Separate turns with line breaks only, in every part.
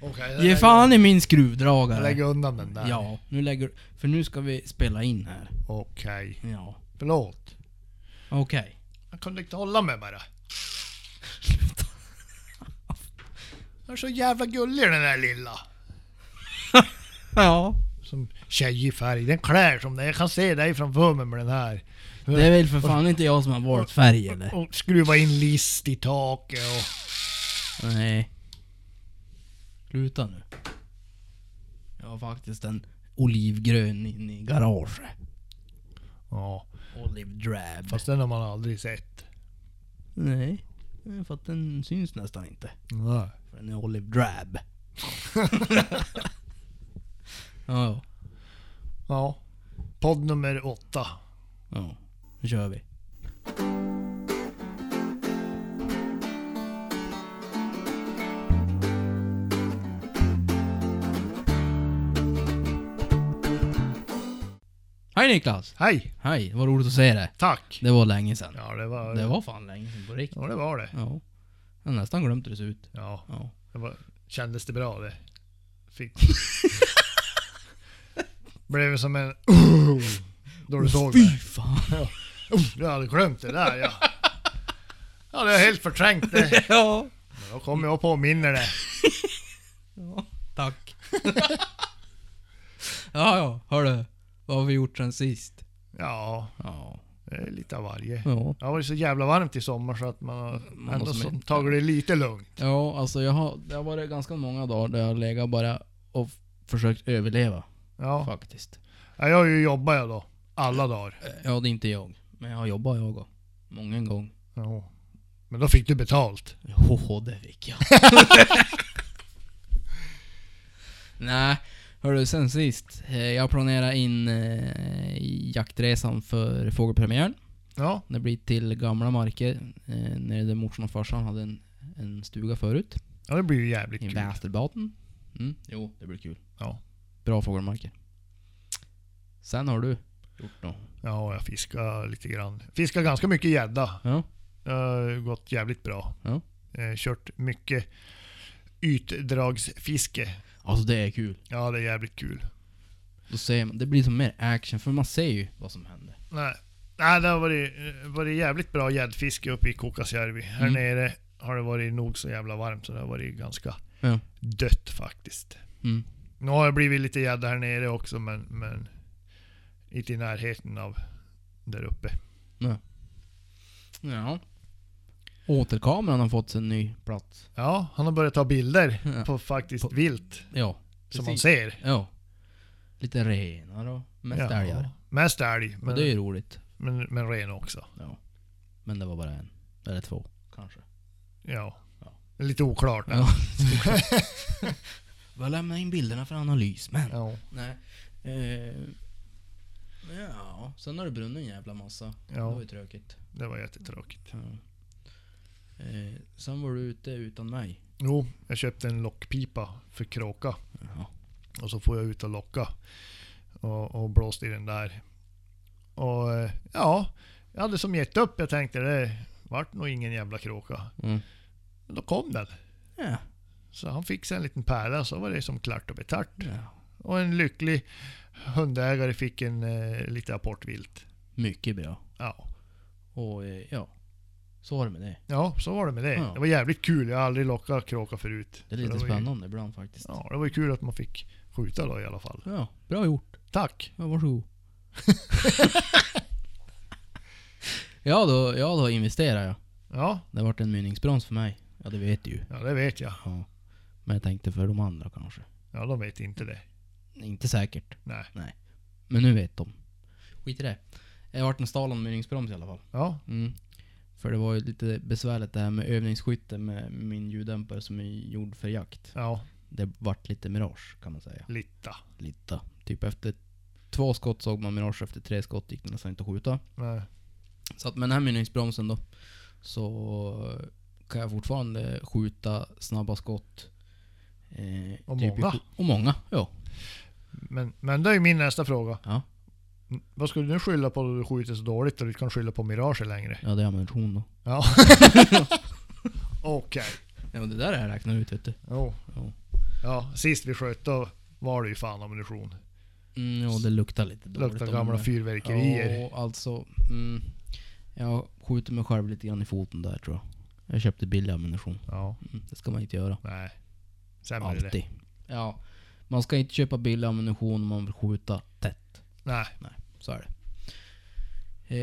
Okej, jag
Ge
lägger-
fan i min
Jag
skruvdragare.
lägger undan den där.
Ja, nu lägger För nu ska vi spela in här.
Okej.
Ja.
Förlåt.
Okej.
Jag kunde inte hålla mig bara. Den är så jävla gullig den där lilla.
Ja.
Som tjej i färg. Den klär som den. Jag kan se dig framför mig med den här.
Det är väl för fan inte jag som har valt färg eller?
Och skruva in list i taket och...
Nej. Sluta nu. Jag har faktiskt en olivgrön inne i garaget.
Ja.
Olive drab.
Fast den har man aldrig sett.
Nej. För att den syns nästan inte.
Nej.
För den är olive drab. ja, ja.
Ja. Podd nummer åtta.
Ja, nu kör vi. Hej Niklas!
Hej!
Hej, vad roligt att se dig.
Tack!
Det var länge sedan.
Ja det var...
Det var fan länge sedan på riktigt.
Ja det var det.
Ja. Jag har nästan glömt hur det ser ut.
Ja.
Ja.
Det var, kändes det bra det? Fick... Blev som en... då du såg
Fy
mig.
fan!
Oh, jag hade glömt det där ja. Ja, det har jag helt förträngt det.
Ja.
Men då kommer jag och påminner det.
Tack. ja, ja. Hörru. Vad har vi gjort sen sist?
Ja,
Ja.
det är lite av varje.
Ja.
Det har varit så jävla varmt i sommar så att man har
Man
ändå
måste
som,
med-
tagit det lite lugnt.
Ja, alltså jag har, det har varit ganska många dagar där jag har legat bara och f- försökt överleva.
Ja.
Faktiskt.
ja, jag har ju jobbat jag då. Alla dagar.
Ja, det är inte jag. Men jag har jobbat jag och. Många gång.
Ja. Men då fick du betalt.
Hoho, det fick jag. Nej, hörru sen sist. eh, Jag planerar in eh, jaktresan för fågelpremiären.
Ja,
Det blir till gamla marker. Eh, nere där morsan och farsan hade en, en stuga förut.
ja det blir ju jävligt
I
kul.
Västerbotten. Mm, jo, det blir kul.
Ja.
Bra fågelmarker. Sen har du gjort något.
Ja, jag fiskar lite grann. Fiskar ganska mycket gädda.
Ja.
Det har gått jävligt bra.
Ja.
Eh, Kört mycket ytdragsfiske.
Alltså det är kul.
Ja, det är jävligt kul.
Då ser man, det blir som mer action för man ser ju vad som händer.
Nej, Nej det har varit, eh, varit jävligt bra gäddfiske uppe i Kukkasjärvi. Här
Mm.
nere har det varit nog så jävla varmt så det har varit ganska
Ja.
dött faktiskt.
Mm.
Nu har det blivit lite gädda här nere också men, men inte i närheten av där uppe.
Ja. Återkameran har fått sig en ny plats.
Ja, han har börjat ta bilder
Ja.
på faktiskt
På-
vilt
Ja.
som man
precis.
ser.
Ja. Lite renar och mest
Ja,
älgar.
Mest älg,
Och
men,
det är ju roligt.
men, men ren också.
Ja. Men det var bara en. Eller två. Kanske.
Ja.
Ja.
Lite oklart. Ja.
Ja. Bara lämna in bilderna för analys men.
Ja.
Nej. Eh, ja, sen har det brunnit en jävla massa. Det var
ja,
ju tråkigt.
det var jättetråkigt.
Eh, sen var du ute utan mig.
Jo, jag köpte en lockpipa för kråka
Ja.
och så får jag ut och locka och, och blåste i den där. Och eh, ja, jag hade som gett upp. Jag tänkte det vart nog ingen jävla kråka.
Mm.
Men då kom den.
Ja.
Så han fixade en liten pärla så var det som klart och betart.
ja.
Och en lycklig hundägare fick en eh, lite apportvilt.
Mycket bra.
Ja.
Och eh, ja, så var det med det.
Ja, så var det med det.
Ja.
Det var jävligt kul. Jag har aldrig lockat kråka förut.
Det är lite
var ju-
spännande ibland faktiskt.
Ja, det var ju kul att man fick skjuta då i alla fall.
Ja, bra gjort.
Tack!
Ja, varsågod. ja, då, ja, då investerar jag.
Ja,
Det vart en mynningsbrons för mig. Ja, det vet du ju.
ja det vet jag.
Ja. Men jag tänkte för de andra kanske.
Ja, de vet inte det.
Inte säkert.
Nej.
Men nu vet de. Skit i det. Jag har varit en stal mynningsbroms i alla fall.
Ja,
Mm. För det var ju lite besvärligt det här med övningsskytte med min ljuddämpare som är gjord för jakt.
ja,
Det vart lite mirage kan man säga.
lite.
Lite. Typ efter två skott såg man mirage, efter tre skott gick det nästan inte att skjuta.
Nej.
Så att med den här mynningsbromsen då, så kan jag fortfarande skjuta snabba skott. Eh,
Och
i
många.
sju- Och många, ja.
Men, men det är ju min nästa fråga.
Ja,
Mm, Vad skulle du nu skylla på då du skjuter så dåligt och du kan skylla på mirager längre?
ja det är ammunition då.
Ja. Okej.
Ja men det där har jag räknat ut vet du.
Jo.
Jo.
Ja. Ja, sist vi sköt då var det ju fan ammunition.
Mm, ja, det luktar lite dåligt.
Luktar
om
gamla
det.
fyrverkerier.
Ja, alltså. Mm, jag skjuter mig själv lite grann i foten där tror jag. Jag köpte billig ammunition.
Ja,
Mm, det ska man inte göra.
nej. Sämre är det.
Alltid. Ja. Man ska inte köpa billig ammunition om man vill skjuta tätt.
Nej.
Så är det. Eh,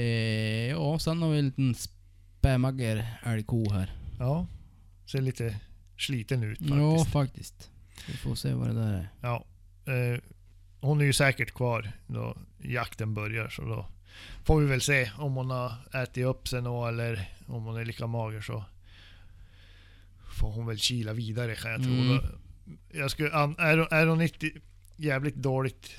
ja, sen har vi en liten spämagger älgko här.
Ja. Ser lite sliten ut faktiskt.
Ja, faktiskt. Vi får se vad det där är.
Ja. Eh, hon är ju säkert kvar då jakten börjar. Så då får vi väl se om hon har ätit upp sig nå eller om hon är lika mager så får hon väl kila vidare kan jag tro.
Mm.
Då- Jag skulle, an, är, hon- är hon inte i jävligt dåligt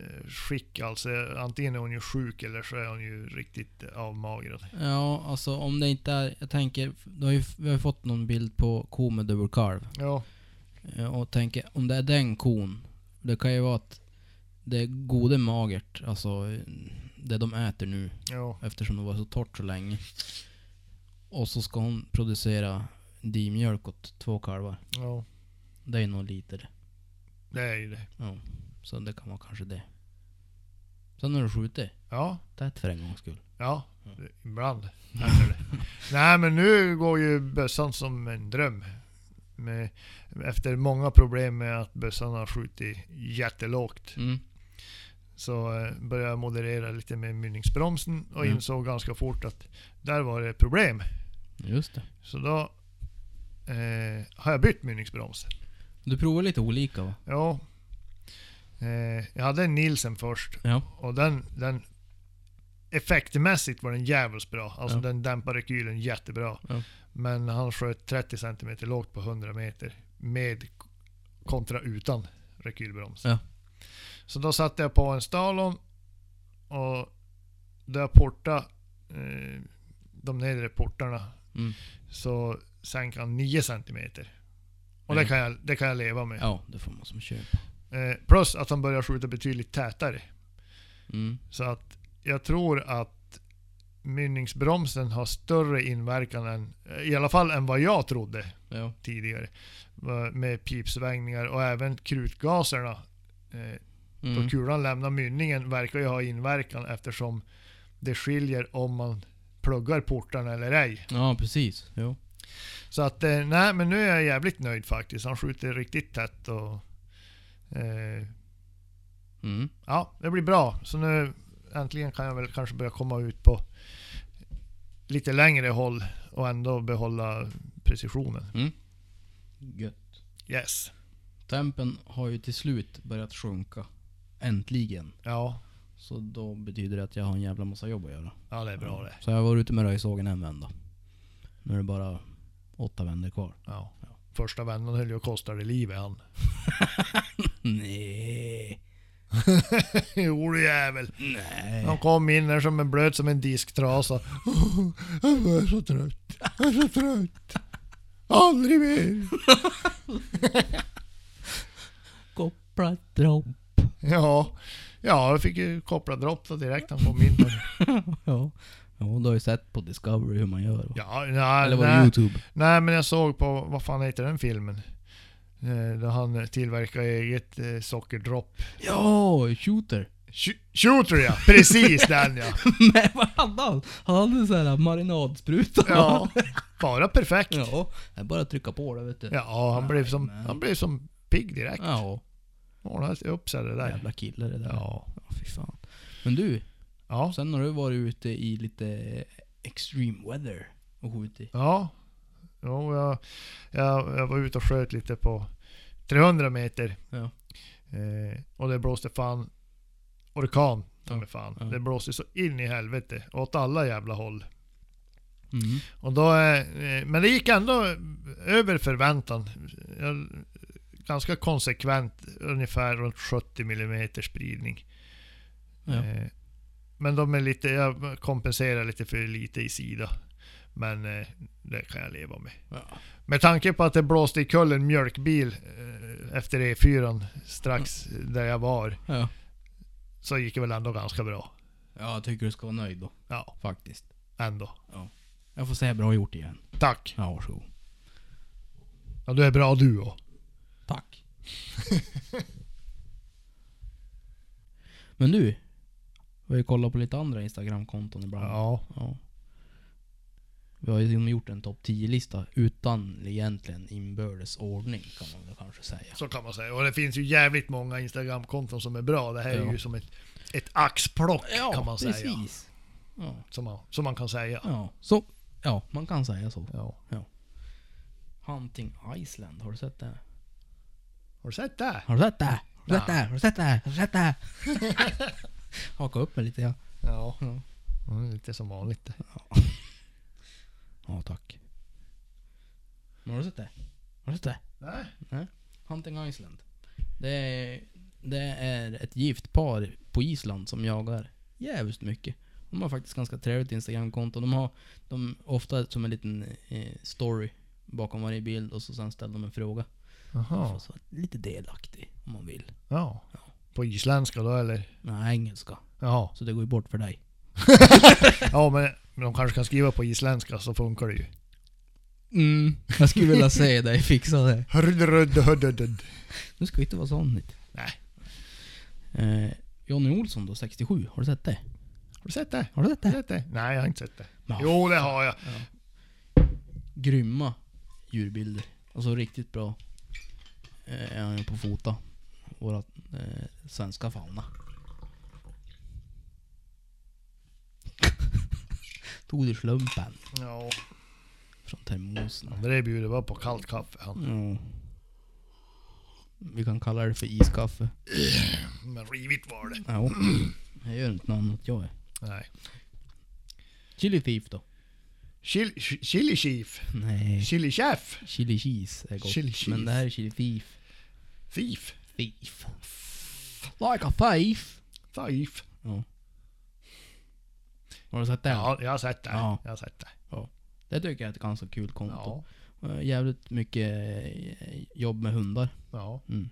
eh, skick alltså. Antingen är hon ju sjuk eller så är hon ju riktigt avmagrad.
Ja, alltså om det inte är... Jag tänker, du har ju, vi har ju fått någon bild på ko med dubbelkalv.
Ja,
Eh, Och tänker, om det är den kon. Det kan ju vara att det är gode magert, alltså eh, det de äter nu.
ja,
Eftersom det var så torrt så länge. Och så ska hon producera dimjölk åt två kalvar.
ja.
Det är någon liter.
Det är ju det.
Ja, så det kan vara kanske det. Sen har du skjutit.
Ja,
Tätt för en gångs skull.
Ja, ibland händer det. Nej men nu går ju bössan som en dröm. Med, efter många problem med att bössan har skjutit jättelågt.
Mm.
Så eh, började jag moderera lite med mynningsbromsen och
Mm.
insåg ganska fort att där var det problem.
Just det.
Så då eh, har jag bytt mynningsbroms.
Du provar lite olika va?
Ja. Eh, jag hade en Nielsen först
Ja.
och den, den effektmässigt var den jävligt bra. Alltså
Ja.
den dämpar rekylen jättebra.
Ja.
Men han sköt 30 cm lågt på 100 meter med kontra utan rekylbroms.
Ja.
Så då satte jag på en stalon och då jag portade eh, de nedre portarna
Mm.
så sänk han 9 cm. Och det,
Ja.
kan jag, det kan jag leva med.
Ja, det får man som köpa.
Eh, plus att han börjar skjuta betydligt tätare.
Mm.
Så att jag tror att mynningsbromsen har större inverkan än, i alla fall än vad jag trodde
Ja.
tidigare. Va- Med pipsvängningar och även krutgaserna. Eh, Då
Mm.
kulan lämnar mynningen verkar ju ha inverkan eftersom det skiljer om man pluggar portarna eller ej.
Mm. Ja, precis. Jo.
Så att eh, nej, men nu är jag jävligt nöjd faktiskt. Han skjuter riktigt tätt och... Eh,
Mm.
Ja, det blir bra. Så nu äntligen kan jag väl kanske börja komma ut på lite längre håll och ändå behålla precisionen.
Gött.
Yes.
Tempen har ju till slut börjat sjunka. Äntligen.
Ja,
Så då betyder det att jag har en jävla massa jobb att göra.
ja det är bra det.
Så jag var ute med röjsågen en vända. Nu är det bara åtta vändor kvar.
Ja. Första vändan höll ju och kostade livet han.
Nej.
jo du jävel.
Nej.
Han kom in där som en blöt som en disktrasa. jag är så trött. Jag är så trött. Aldrig mer.
Koppla dropp.
Ja, ja jag fick ju koppla dropp då direkt han kom in. där.
Ja. ja, du har ju sett på Discovery hur man gör. va?
Ja, nej,
Eller var
nej.
det Youtube?
Nej men jag såg på, vad fan heter den filmen? Eh, Där han tillverkar eget eh, sockerdropp.
Ja, Shooter.
Sh- Shooter ja! Precis den ja!
Men vad hade han? Han hade en sån här marinadspruta.
Ja, bara perfekt. Ja,
ja. Det är bara att trycka på det vet du.
han, blev som,
Jajamän.
han blev som pigg direkt.
ja.
Ordnade upp sig det där.
Jävla kille det där.
Ja.
ja fy fan. Men du,
Ja.
sen har du varit ute i lite extreme weather och skjutit.
ja. Jo, jag, jag, jag var ute och sköt lite på 300 meter.
Ja.
Eh, och det blåste fan orkan. ta mig Fan.
Ja.
Det blåste så in i helvete. Åt alla jävla håll.
Mm.
Och då, eh, men det gick ändå över förväntan. Jag, ganska konsekvent, ungefär runt 70 mm spridning.
Ja.
Eh, Men de är lite, jag kompenserar lite för lite i sida. Men eh, det kan jag leva med.
Ja.
Med tanke på att det blåste i en mjölkbil eh, efter E4 strax där jag var.
Ja.
Så gick det väl ändå ganska bra.
ja, jag tycker du ska vara nöjd då.
Ja,
Faktiskt.
ändå.
Jag får säga bra gjort igen.
Tack!
Ja, varsågod.
Ja, du är bra du också.
Tack. Men du, vi har ju kollat på lite andra Instagram-konton ibland.
Ja.
Ja. Vi har ju gjort en topp 10-lista utan egentligen inbördes ordning kan man väl kanske säga.
Så kan man säga. Och det finns ju jävligt många Instagram-konton som är bra. Det här är
Ja.
ju som ett, ett axplock kan man säga.
precis. Ja.
Som man, som man kan säga.
ja, så. Ja, man kan säga så.
Ja.
Hunting Iceland, har du sett det?
Har du sett det?
Har du sett det? Har du sett
Nej.
det? Har du sett det? Har du sett det? Haka upp mig lite ja.
Ja.
Ja.
Mm, lite som vanligt.
Ja, tack. Men har du sett det? Har du sett det?
Nej.
Hunting Iceland. Det är, det är ett gift par på Island som jagar jävligt mycket. De har faktiskt ganska trevligt Instagramkonto. De har de ofta som en liten eh, story bakom varje bild och så sen ställer de en fråga.
Jaha.
Så lite delaktig om man vill.
Ja. På isländska då eller?
Nej, engelska.
Jaha.
Så det går ju bort för dig.
Ja men, men de kanske kan skriva på isländska så funkar det ju.
Mm, jag skulle vilja se dig fixa det.
Hrdrödhödödöd.
Nu ska vi inte vara sån lite.
Nej.
Eh, Johnny Olsson då, 67. Har du sett det?
Har du sett det?
Har du sett
Har
det?
du sett det? Nej jag har inte sett det.
Ja.
Jo det har jag.
Grymma djurbilder. Alltså riktigt bra. Eh, är han ju på fota. Våra eh, svenska fauna. Tog du slumpen
Ja.
från termosen?
André bjuder bara på kallt kaffe han.
Ja. Vi kan kalla det för iskaffe.
Men rivigt var det.
Ja. Jag gör inte något annat jag är.
Nej.
Chili Thief då?
Chili, chili chief.
Nej.
Chili chef.
Chili cheese är gott.
Chili cheese.
Men det här är chili thief.
Thief.
Thief. Like a thief.
Thief.
Ja. Har du sett det?
Ja, jag har sett det.
Ja.
Jag har sett det.
Det tycker jag är ett ganska kul konto.
Ja.
Eh, Jävligt mycket eh, jobb med hundar.
Ja.
Mm.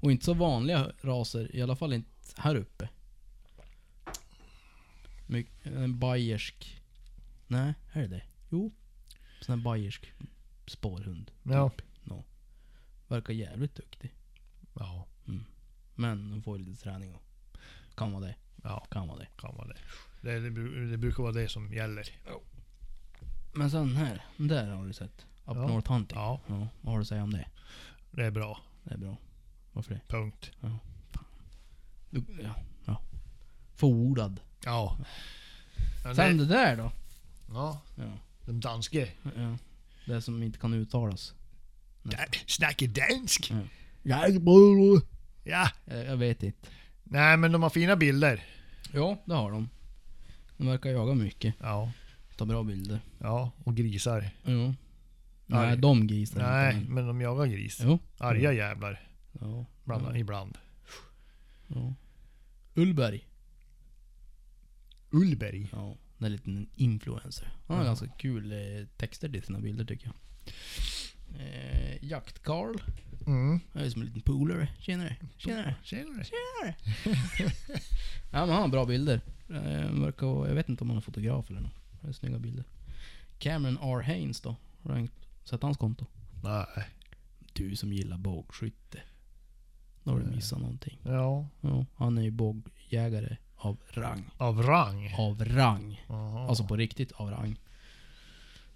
Och inte så vanliga raser, i alla fall inte här uppe. My- en bayersk... Nej, är det det? Jo. Sån här bayersk spårhund.
Ja.
Typ. Nå. Verkar jävligt duktig.
Ja.
Men de får ju lite träning och kan vara det.
Ja.
Kan vara det.
Kan vara det. Det, det, bru- det brukar vara det som gäller.
Men sen här, den där har du sett. Up
Ja.
North Hunting.
Ja.
Ja, vad har du att säga om det?
Det är bra.
Det är bra. Varför det?
Punkt.
Du, ja, ja. Förordad.
Ja. Men
Sen
det,
det där då?
ja.
Ja.
Den danske.
ja. Det som inte kan uttalas.
Da, snackar dansk. Ja.
Eh, Jag, jag vet inte.
Nej men de har fina bilder.
Ja, det har de. De verkar jaga mycket.
Ja.
Ta bra bilder.
Ja. Och grisar.
Ja. Nej,
Nej.
de grisarna. inte,
Nej
men-
men de jagar gris.
Jo.
Arga jävlar.
Ja.
Bland,
Ja.
Ibland.
ja. Ullberg.
Ullberg.
Ja, den är en liten influencer. Han har
Ja.
ganska kul eh, texter till sina bilder tycker jag. Eh, Jakt-Karl.
Mm.
Han är som en liten polare. Tjenare, tjenare,
Tjenare.
tjenare. ja men han har bra bilder. Eh, verkar, vara- jag vet inte om han är fotograf eller något. Det är snygga bilder. Cameron R. Haynes då? Har du sett hans konto?
Nej.
Du som gillar bågskytte. Då har du
Eh.
missat någonting.
Ja.
Ja, han är ju bågjägare av rang.
Av rang.
Av rang.
Jaha.
Alltså på riktigt av rang.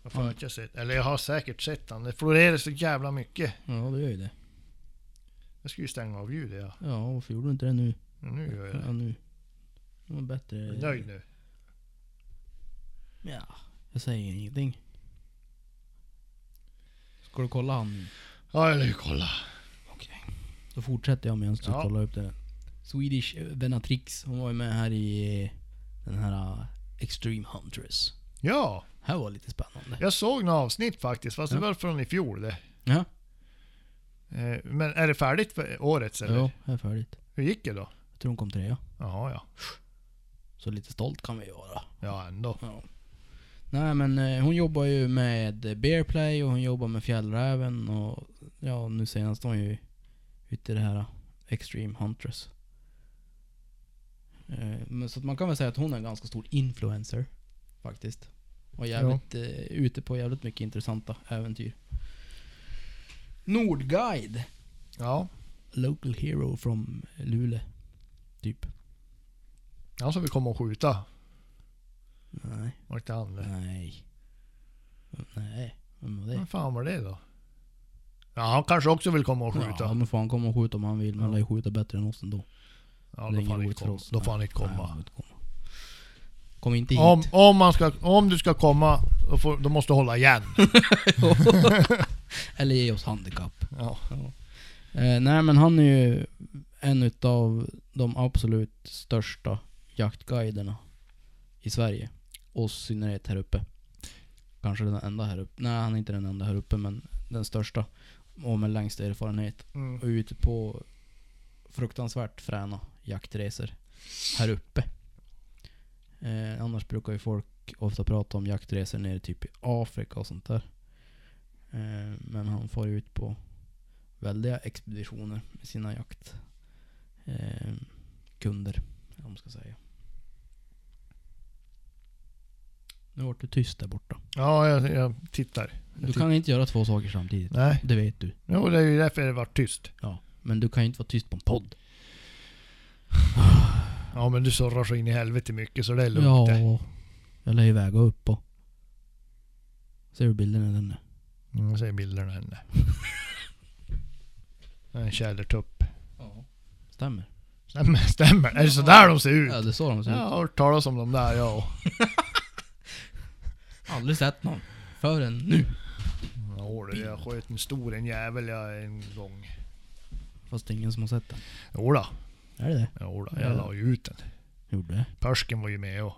Varför har jag inte sett? Eller jag har säkert sett han. Det florerar så jävla mycket.
Ja, det gör ju det.
Jag ska ju stänga av ljudet ja.
Ja, varför gjorde du inte det nu?
Men nu gör jag
Ja,
det.
nu. Det var
Jag
bättre.
är nöjd nu.
Ja, jag säger ingenting. Ska du kolla han?
Ja eller hur? Kolla.
Okej. Då fortsätter jag medan du
Ja.
kollar upp det. Swedish Venatrix, hon var ju med här i eh, den här eh, Extreme Huntress.
Ja.
Här var lite spännande.
Jag såg några avsnitt faktiskt. Fast det
Ja.
var från i fjol det.
Ja,
Eh, Men är det färdigt för årets eller?
jo, här är färdigt.
Hur gick det då?
Jag tror hon kom trea.
Jaha ja.
Så lite stolt kan vi vara.
Ja ändå.
Ja. Nej men eh, hon jobbar ju med Bearplay och hon jobbar med Fjällräven och ja nu senast var hon ju ute i det här eh, Extreme Huntress. Eh, Men så att man kan väl säga att hon är en ganska stor influencer faktiskt. Och jävligt eh, ute på jävligt mycket intressanta äventyr. Nordguide.
Ja.
Local hero from Luleå. Typ.
Han som vi kom och skjuta.
Nej.
Var inte han det?
Nej. Nej. Vem var det?
Vem fan var det då? Ja, han kanske också vill komma och skjuta.
Ja,
Ja,
men får han komma och skjuta om han vill. Men han lär ju skjuta bättre än oss ändå. det
då,
är
får
ingen
han
roligt
inte
för
komma.
oss.
då får han inte
Nej, han
komma.
får inte komma. Kom inte hit.
Om, om, man ska, om du ska komma, då, får, då måste du hålla igen.
Eller ge oss handikapp.
Ja.
Eh, nej men han är ju en utav de absolut största jaktguiderna i Sverige. Och i synnerhet här uppe. Kanske den enda här uppe. Nej han är inte den enda här uppe men den största. Och med längst erfarenhet.
Mm.
Och ute på fruktansvärt fräna jaktresor här uppe. Eh, annars brukar ju folk ofta prata om jaktresor nere typ i Afrika och sånt där. Eh, men han får ju ut på väldiga expeditioner med sina jaktkunder. Eh, kunder, eller vad man ska säga. Nu vart du tyst där borta.
Ja, jag, jag tittar.
Du kan inte göra två saker samtidigt.
Nej,
Det vet du.
jo, det är ju därför det varit tyst.
Ja. Men du kan ju inte vara tyst på en podd.
Ja, men du surrar så in i helvete mycket så det är lugnt det.
Ja, jag la iväg och upp och... Ser du bilden i den nu?
Mm, jag ser bilderna henne. En tjädertupp.
Ja. Stämmer.
Stämmer, stämmer. Är det så där de ser ut?
Ja, det är så de
Jag
ser ut.
har hört talas om dem där ja.
Aldrig sett någon. Förrän nu.
ja du, jag sköt en stor en jävel jag en gång.
Fast det är ingen som har sett den.
Jodå,
Är det det?
jodå. Jag la ju ut den.
Gjorde det?
Persken var ju med och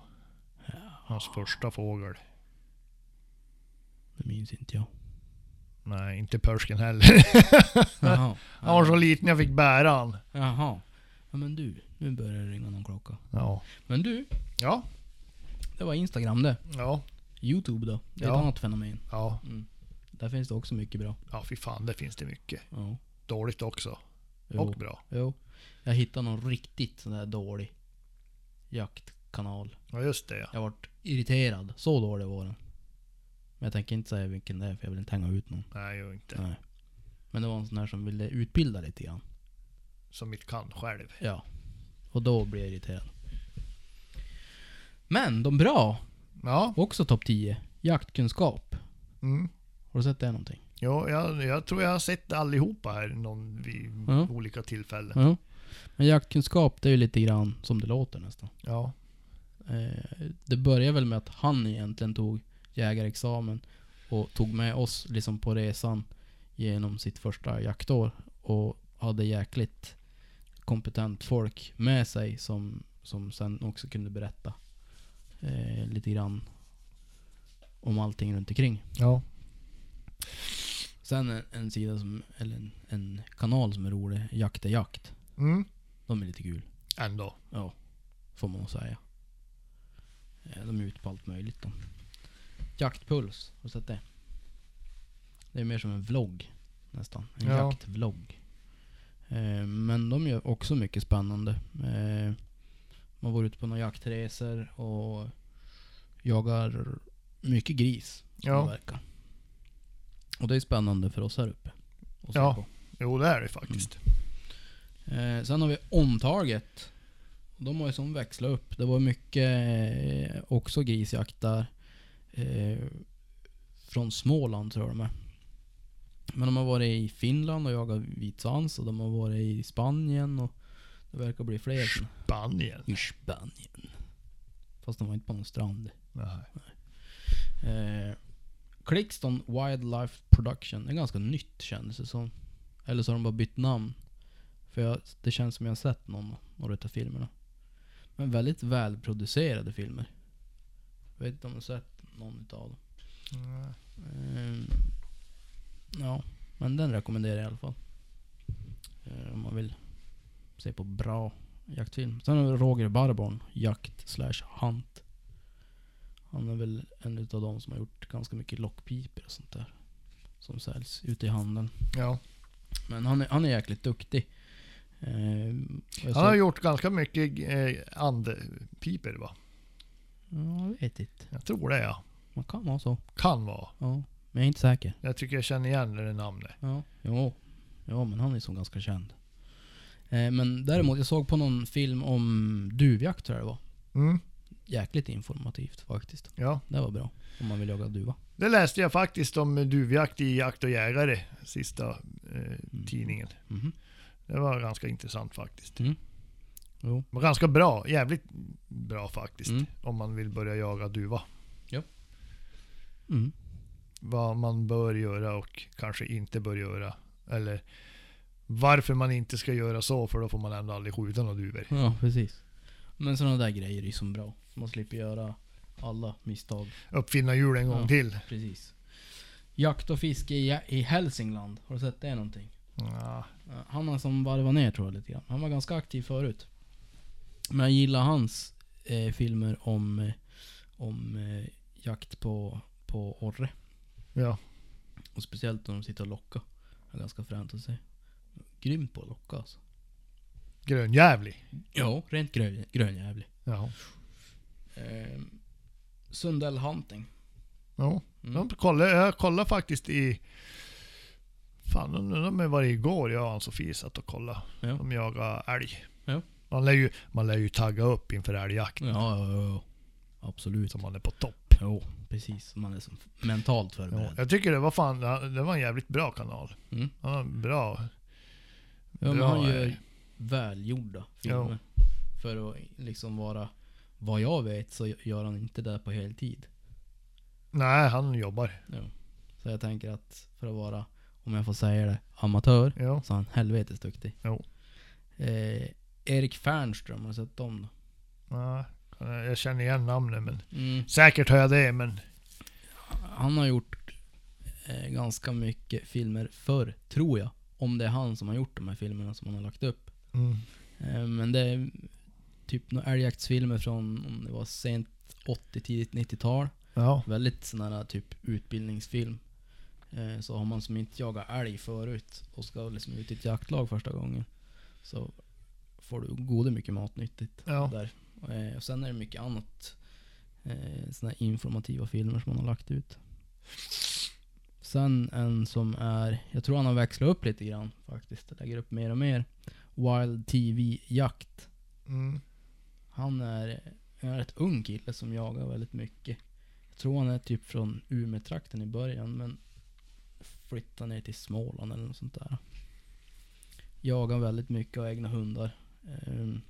Hans första fågel.
Det minns inte jag.
Nej, inte Persken heller.
Jaha.
Han var så liten jag fick bära han.
Jaha. Ja men du, nu börjar det ringa någon klocka.
Ja.
Men du,
Ja.
det var Instagram det.
Ja.
Youtube då. Det är
Ja.
ett annat fenomen. Mm.
Ja.
Där finns det också mycket bra.
Ja, fy fan. Där finns det mycket.
Ja.
Dåligt också.
Jo.
Och bra.
Jo. Jag hittade någon riktigt sån där dålig jaktkanal.
Ja, just det ja.
Jag vart irriterad. Så dålig var den. Men jag tänker inte säga vilken det är för jag vill inte hänga ut någon.
Nej, jag inte.
Nej. Men det var en sån här som ville utbilda lite grann.
Som mitt kan själv.
Ja. Och då blir jag irriterad. Men de bra,
Ja.
också topp 10. Jaktkunskap.
Mm.
Har du sett det någonting?
Jo, jag, jag tror jag har sett allihopa här någon, vid
Ja.
olika tillfällen.
Ja. Men jaktkunskap, det är ju lite grann som det låter nästan.
Ja.
Eh, det började väl med att han egentligen tog jägarexamen och tog med oss liksom på resan genom sitt första jaktår och hade jäkligt kompetent folk med sig som, som sen också kunde berätta eh, lite grann om allting runt omkring.
Ja.
Sen en, en sida som, eller en, en kanal som är rolig, Jakt är jakt.
Mm.
De är lite kul.
Ändå.
Ja, får man nog säga. Eh, De är ute på allt möjligt de. Jaktpuls, har du sett det? Det är mer som en vlogg nästan. En
Ja.
jaktvlogg. Eh, Men de gör också mycket spännande. Eh, Man var ute på några jaktresor och jagar mycket gris. Som
Ja.
det verkar. Och det är spännande för oss här uppe. att se
Ja.
på.
Jo, det är det faktiskt.
Mm. Eh, sen har vi omtaget. De har ju som växla upp. Det var mycket eh, också grisjakt där. Eh, från Småland tror jag de är. Men de har varit i Finland och jagat vitsvans och de har varit i Spanien och det verkar bli fler. såna.
Spanien.
I Spanien. Fast de var inte på någon strand.
Nej.
Eh, Clixton Wildlife Production. Det är ganska nytt kändes det som. Eller så har de bara bytt namn. För jag, det känns som jag har sett någon, några utav filmerna. Men väldigt välproducerade filmer. Jag vet inte om du har sett någon utav dem.
Nej.
Eh, ja, men den rekommenderar jag i alla fall. Eh, om man vill se på bra jaktfilm. Sen har vi Roger Barborn, jakt slash hunt. Han är väl en utav de som har gjort ganska mycket lockpipor och sånt där. Som säljs ute i handeln.
Ja.
Men han är, han är jäkligt duktig. Eh, och jag
Han har
såg-
gjort ganska mycket eh, andpiper va?
Ja, jag vet inte.
Jag tror det ja.
Man kan vara så.
Kan vara.
Ja, men jag är inte säker.
Jag tycker jag känner igen det där namnet.
Ja. Jo. Ja, men han är som ganska känd. Eh, men däremot, jag såg på någon film om duvjakt tror jag det var.
Mm,
Jäkligt informativt faktiskt.
ja.
Det var bra. Om man vill jaga duva.
Det läste jag faktiskt om duvjakt i Jakt och Jägare, sista eh, tidningen.
Mhm.
Det var ganska intressant faktiskt.
Mm. Jo.
Men Ganska bra, jävligt bra faktiskt.
Mm.
Om man vill börja jaga duva.
Mm.
Vad man bör göra och kanske inte bör göra. Eller varför man inte ska göra så, för då får man ändå aldrig skjuta några duvor.
Ja, precis. Men sådana där grejer är ju som bra. Man slipper göra alla misstag.
Uppfinna hjul en gång
Ja.
till.
Precis. Jakt och fiske i, i Hälsingland. Har du sett det någonting?
Ja.
Eh, Han har som varvat ner tror jag lite grann. Han var ganska aktiv förut. Men jag gillar hans eh, filmer om, eh, om eh, jakt på, på orre.
ja.
Och speciellt när de sitter och lockar. Det är ganska fränt att se. Grym på att locka alltså.
Grönjävlig.
Ja, rent grön, grönjävlig.
Ja.
Eh, Sundell Hunting.
ja.
Mm.
Jag, kollade, jag kollade faktiskt i... Fan, undrar om det var igår jag och Ann-Sofie satt och kollade.
Ja.
De jagade älg.
Ja.
Man, lär ju, man lär ju tagga upp inför älgjakt.
Ja, ja, ja, ja. Absolut.
Så man är på topp.
Jo, precis. Man är som mentalt
Ja,
förberedd.
jag tycker det var fan, det var en jävligt bra kanal.
Mm.
Ja, bra.
Ja, men
Bra,
han gör
eh.
välgjorda filmer. För att liksom vara... Vad jag vet så gör han inte det på heltid.
Nej, han jobbar.
Ja. Så jag tänker att för att vara, om jag får säga det, amatör.
Ja.
Så han är helvetes duktig.
Jo.
Eh, Erik Fernström, har du sett dem då?
Nej, jag känner igen namnen men
Mm.
säkert hör jag det men
Han har gjort eh, ganska mycket filmer förr, tror jag. Om det är han som har gjort de här filmerna som han har lagt upp.
mm.
Eh, men det är typ några älgjaktsfilmer från, om det var sent 80, tidigt 90-tal.
ja.
Väldigt sån här typ utbildningsfilm. Eh, så har man som inte jagat älg förut och ska liksom ut i ett jaktlag första gången. Så får du goda mycket matnyttigt
ja.
där. Eh, och sen är det mycket annat. Eh, såna här informativa filmer som han har lagt ut. Sen en som är, jag tror han har växlat upp lite grann faktiskt. Lägger upp mer och mer. Wild TV Jakt.
Mm.
Han är en rätt ung kille som jagar väldigt mycket. Jag tror han är typ från Umeå-trakten i början men flyttar ner till Småland eller något sånt där. Jagar väldigt mycket och har egna hundar. Ehm,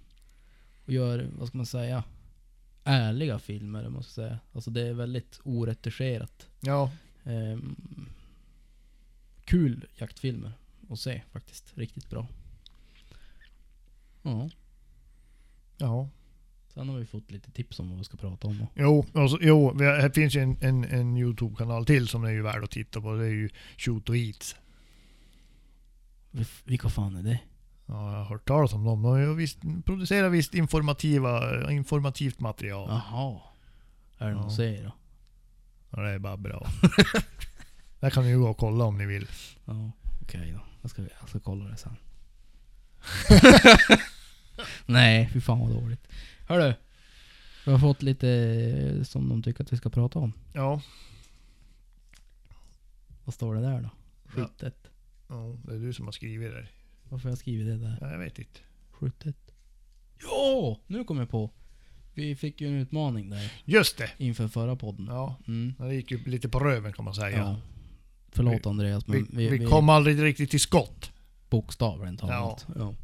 och gör, vad ska man säga, ärliga filmer måste jag säga. Alltså det är väldigt oretuscherat.
Ja.
Ehm, kul jaktfilmer att se faktiskt. Riktigt bra. Ja.
Ja.
Sen har vi fått lite tips om vad vi ska prata om. då.
Jo, och så, jo, vi har- här finns ju en, en, en YouTube-kanal till som är ju värd att titta på. Det är ju Shoot och Eats.
Vil- Vilka fan är det?
Ja, jag har hört talas om dem. De har ju visst, producerar visst informativa, informativt material.
Jaha. Är det någon
Ja.
serie då?
Ja, det är bara bra. Där kan ni ju gå och kolla om ni vill.
Ja, okej då. Jag ska, jag ska kolla det sen. Nej, fy fan vad dåligt. Hörru. Vi har fått lite eh, som de tycker att vi ska prata om.
Ja.
Vad står det där då?
Ja.
Skjutet.
ja, det är du som har skrivit det.
Varför har jag skrivit det där?
Ja, jag vet inte.
Skjutet. Ja! Nu kom jag på. Vi fick ju en utmaning där
Just det!
inför förra podden.
Ja,
Mm.
det gick ju lite på röven kan man säga.
Ja. Förlåt
Vi-
Andreas men
Vi, vi, kom aldrig riktigt till skott.
bokstavligen talat. Ja.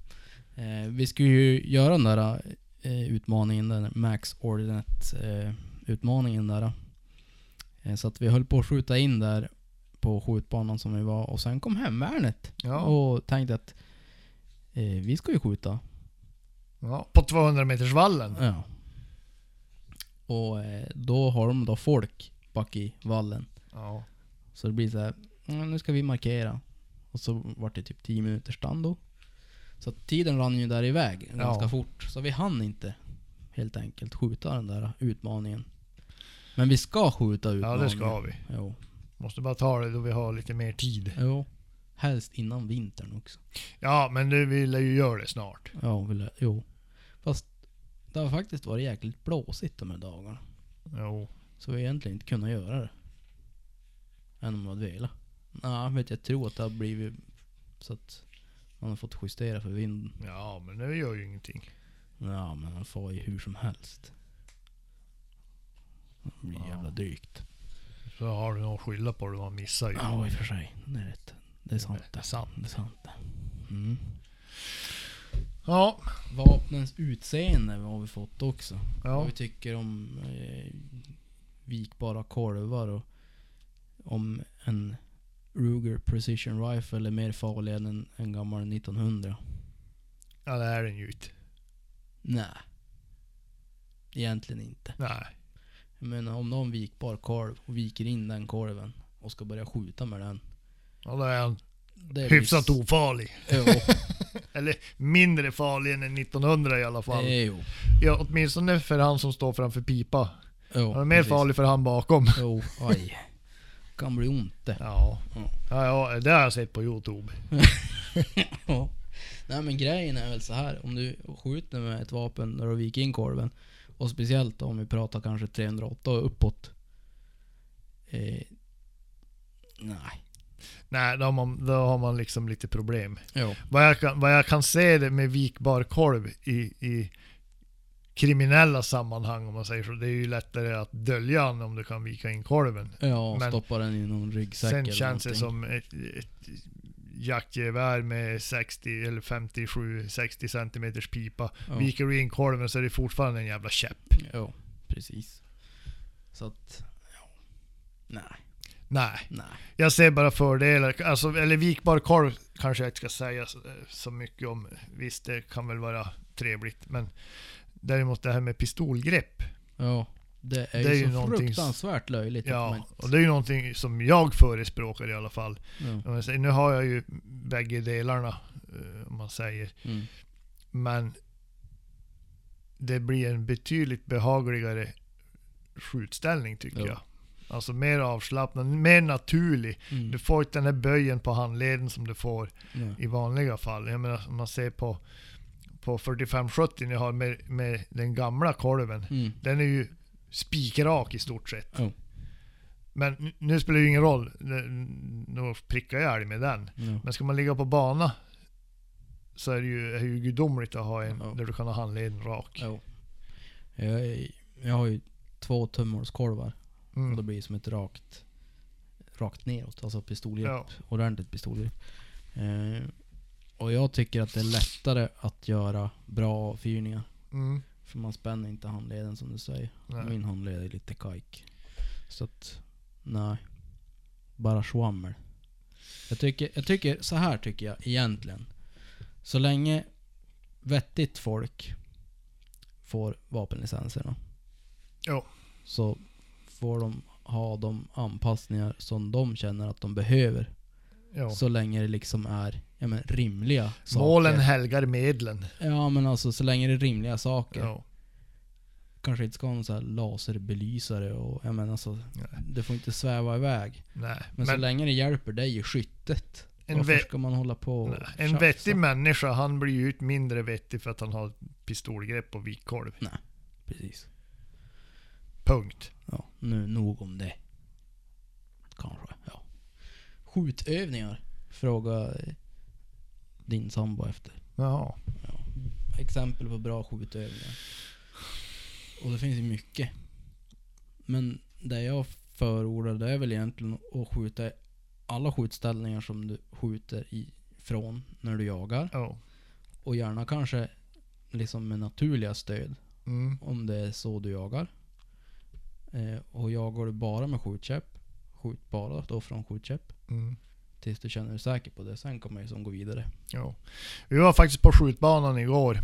Eh, vi skulle ju göra den där eh, utmaningen, den där Max Ordinate-utmaningen där. Eh, så att vi höll på att skjuta in där på skjutbanan som vi var och sen kom hemvärnet
Ja.
och tänkte att eh, vi ska ju skjuta.
Ja, på 200 meters vallen.
Ja. Och eh, då har de då folk bak i vallen.
Ja.
Så det blir så här, "Mm, nu ska vi markera. Och så vart det typ 10 minuters stand då. Så att tiden rann ju där iväg
Ja.
ganska fort. Så vi hann inte helt enkelt skjuta den där utmaningen. Men vi ska skjuta
ja,
utmaningen.
det ska vi.
Jo.
Måste bara ta det då vi har lite mer tid.
jo. Helst innan vintern också.
Ja, men du ville ju göra det snart.
Ja, vill, jo. Fast det har faktiskt varit jäkligt blåsigt de här dagarna.
Jo.
Så vi har egentligen inte kunnat göra det. Än om vi hade velat. Nej, vet jag tror att det har blivit Så att man har fått justera för vinden.
Ja, men det gör ju ingenting.
Ja, men han far ju hur som helst. Det blir
Ja.
jävla dyrt.
Så har du någon att skylla på det, man missar ju.
Ja, i och för sig. Det är rätt. Det är sant
Det är
det.
sant.
Det är sant det. Mm.
Ja,
Vapnens utseende har vi fått också. Vad
ja.
vi tycker om eh, vikbara korvar och om en Ruger Precision Rifle är mer farlig än en, en gammal 1900.
ja det här är en gjut.
Nej. Egentligen inte.
Nej.
Jag menar om du har en vikbar korv och viker in den korven och ska börja skjuta med den.
Ja, då är han
Det
hyfsat ofarlig.
Jo,
Eller mindre farlig än en 1900 i alla fall.
det är jo.
Ja, åtminstone för han som står framför pipa.
jo
Han är mer
precis.
farlig för han bakom.
Jo, aj. Kan bli ont det.
Ja.
Ja.
Ja, ja, det har jag sett på Youtube.
Ja. Nej men grejen är väl så här. Om du skjuter med ett vapen när du viker in korven. Och speciellt om vi pratar kanske 308 och uppåt. Eh, nej.
Nej, då har, man, då har man liksom lite problem.
Jo.
Vad jag kan, vad jag kan se det med vikbar korv i, i kriminella sammanhang om man säger så. Det är ju lättare att dölja han om du kan vika in korven.
Ja, och
Men-
stoppa den i någon ryggsäck
Sen
eller
känns det
någonting.
som ett, ett jaktgevär med 60 eller 57-60 centimeters pipa.
Ja.
Viker du in korven så är det fortfarande en jävla käpp.
Jo, precis. Så att, ja. Nej,
Nej.
nej.
Jag ser bara fördelar. Alltså, eller vikbar korv kanske jag inte ska säga så, så mycket om. Visst, det kan väl vara trevligt. Men däremot det här med pistolgrepp.
Ja. Det är
Det är
ju
ju
så
någonting s-
fruktansvärt löjligt. att man
Ja,
inte-
och det är ju någonting som jag förespråkar i alla fall.
ja.
Om jag säger, nu har jag ju bägge delarna, eh, om man säger.
Mm.
Men det blir en betydligt behagligare skjutställning tycker
Ja.
jag. Alltså mer avslappnad, mer naturlig.
Mm.
Du får inte den här böjen på handleden som du får
Ja.
i vanliga fall. Jag menar om man ser på, på 4570 ni har med, med den gamla kolven.
Mm.
Den är ju spikrak i stort sett.
Ja.
Men n- nu spelar det ju ingen roll. N- Nu prickar jag älg med den.
Ja.
Men ska man ligga på bana så är det ju, är det ju gudomligt att ha en
Ja.
där du kan ha handleden rak.
Jo. Jag, är- jag har ju två tummhålskorvar. Och då
Mm.
blir det som ett rakt, rakt neråt. Alltså pistolgrepp.
Ja.
Ordentligt pistolgrepp. Eh, och jag tycker att det är lättare att göra bra avfyrningar.
Mm.
För man spänner inte handleden som du säger.
Nej.
Min handled är lite kajk. Så att, nej. Bara schwammel. Jag tycker, jag tycker, så här tycker jag egentligen. Så länge vettigt folk får vapenlicenserna.
Ja.
Så får de ha de anpassningar som de känner att de behöver.
Ja.
Så länge det liksom är ja, men, rimliga saker.
Målen helgar medlen.
Ja men alltså så länge det är rimliga saker
Ja.
kanske inte ska ha någon så här laserbelysare och jag menar alltså,
Nej.
det får inte sväva iväg.
Nej.
Men, så länge det hjälper dig i skyttet,
En
varför
ve-
ska man hålla på och
Nej, En
tjafsa?
vettig människa, han blir ju ut mindre vettig för att han har pistolgrepp och vikkolv.
Mm. Precis.
Punkt.
Ja, nu nog om det. Kanske, ja. Skjutövningar, fråga eh, din sambo efter.
Jaha.
Ja. Exempel på bra skjutövningar. Och det finns ju mycket. Men det jag förordar det är väl egentligen att skjuta i alla skjutställningar som du skjuter ifrån när du jagar.
Ja.
Och gärna kanske liksom med naturliga stöd
Mm.
om det är så du jagar. Eh, och jagar du bara med skjutkäpp, skjut bara då från skjutkäpp
Mm.
tills du känner dig säker på det. Sen kan man ju som gå vidare.
Ja. Vi var faktiskt på skjutbanan igår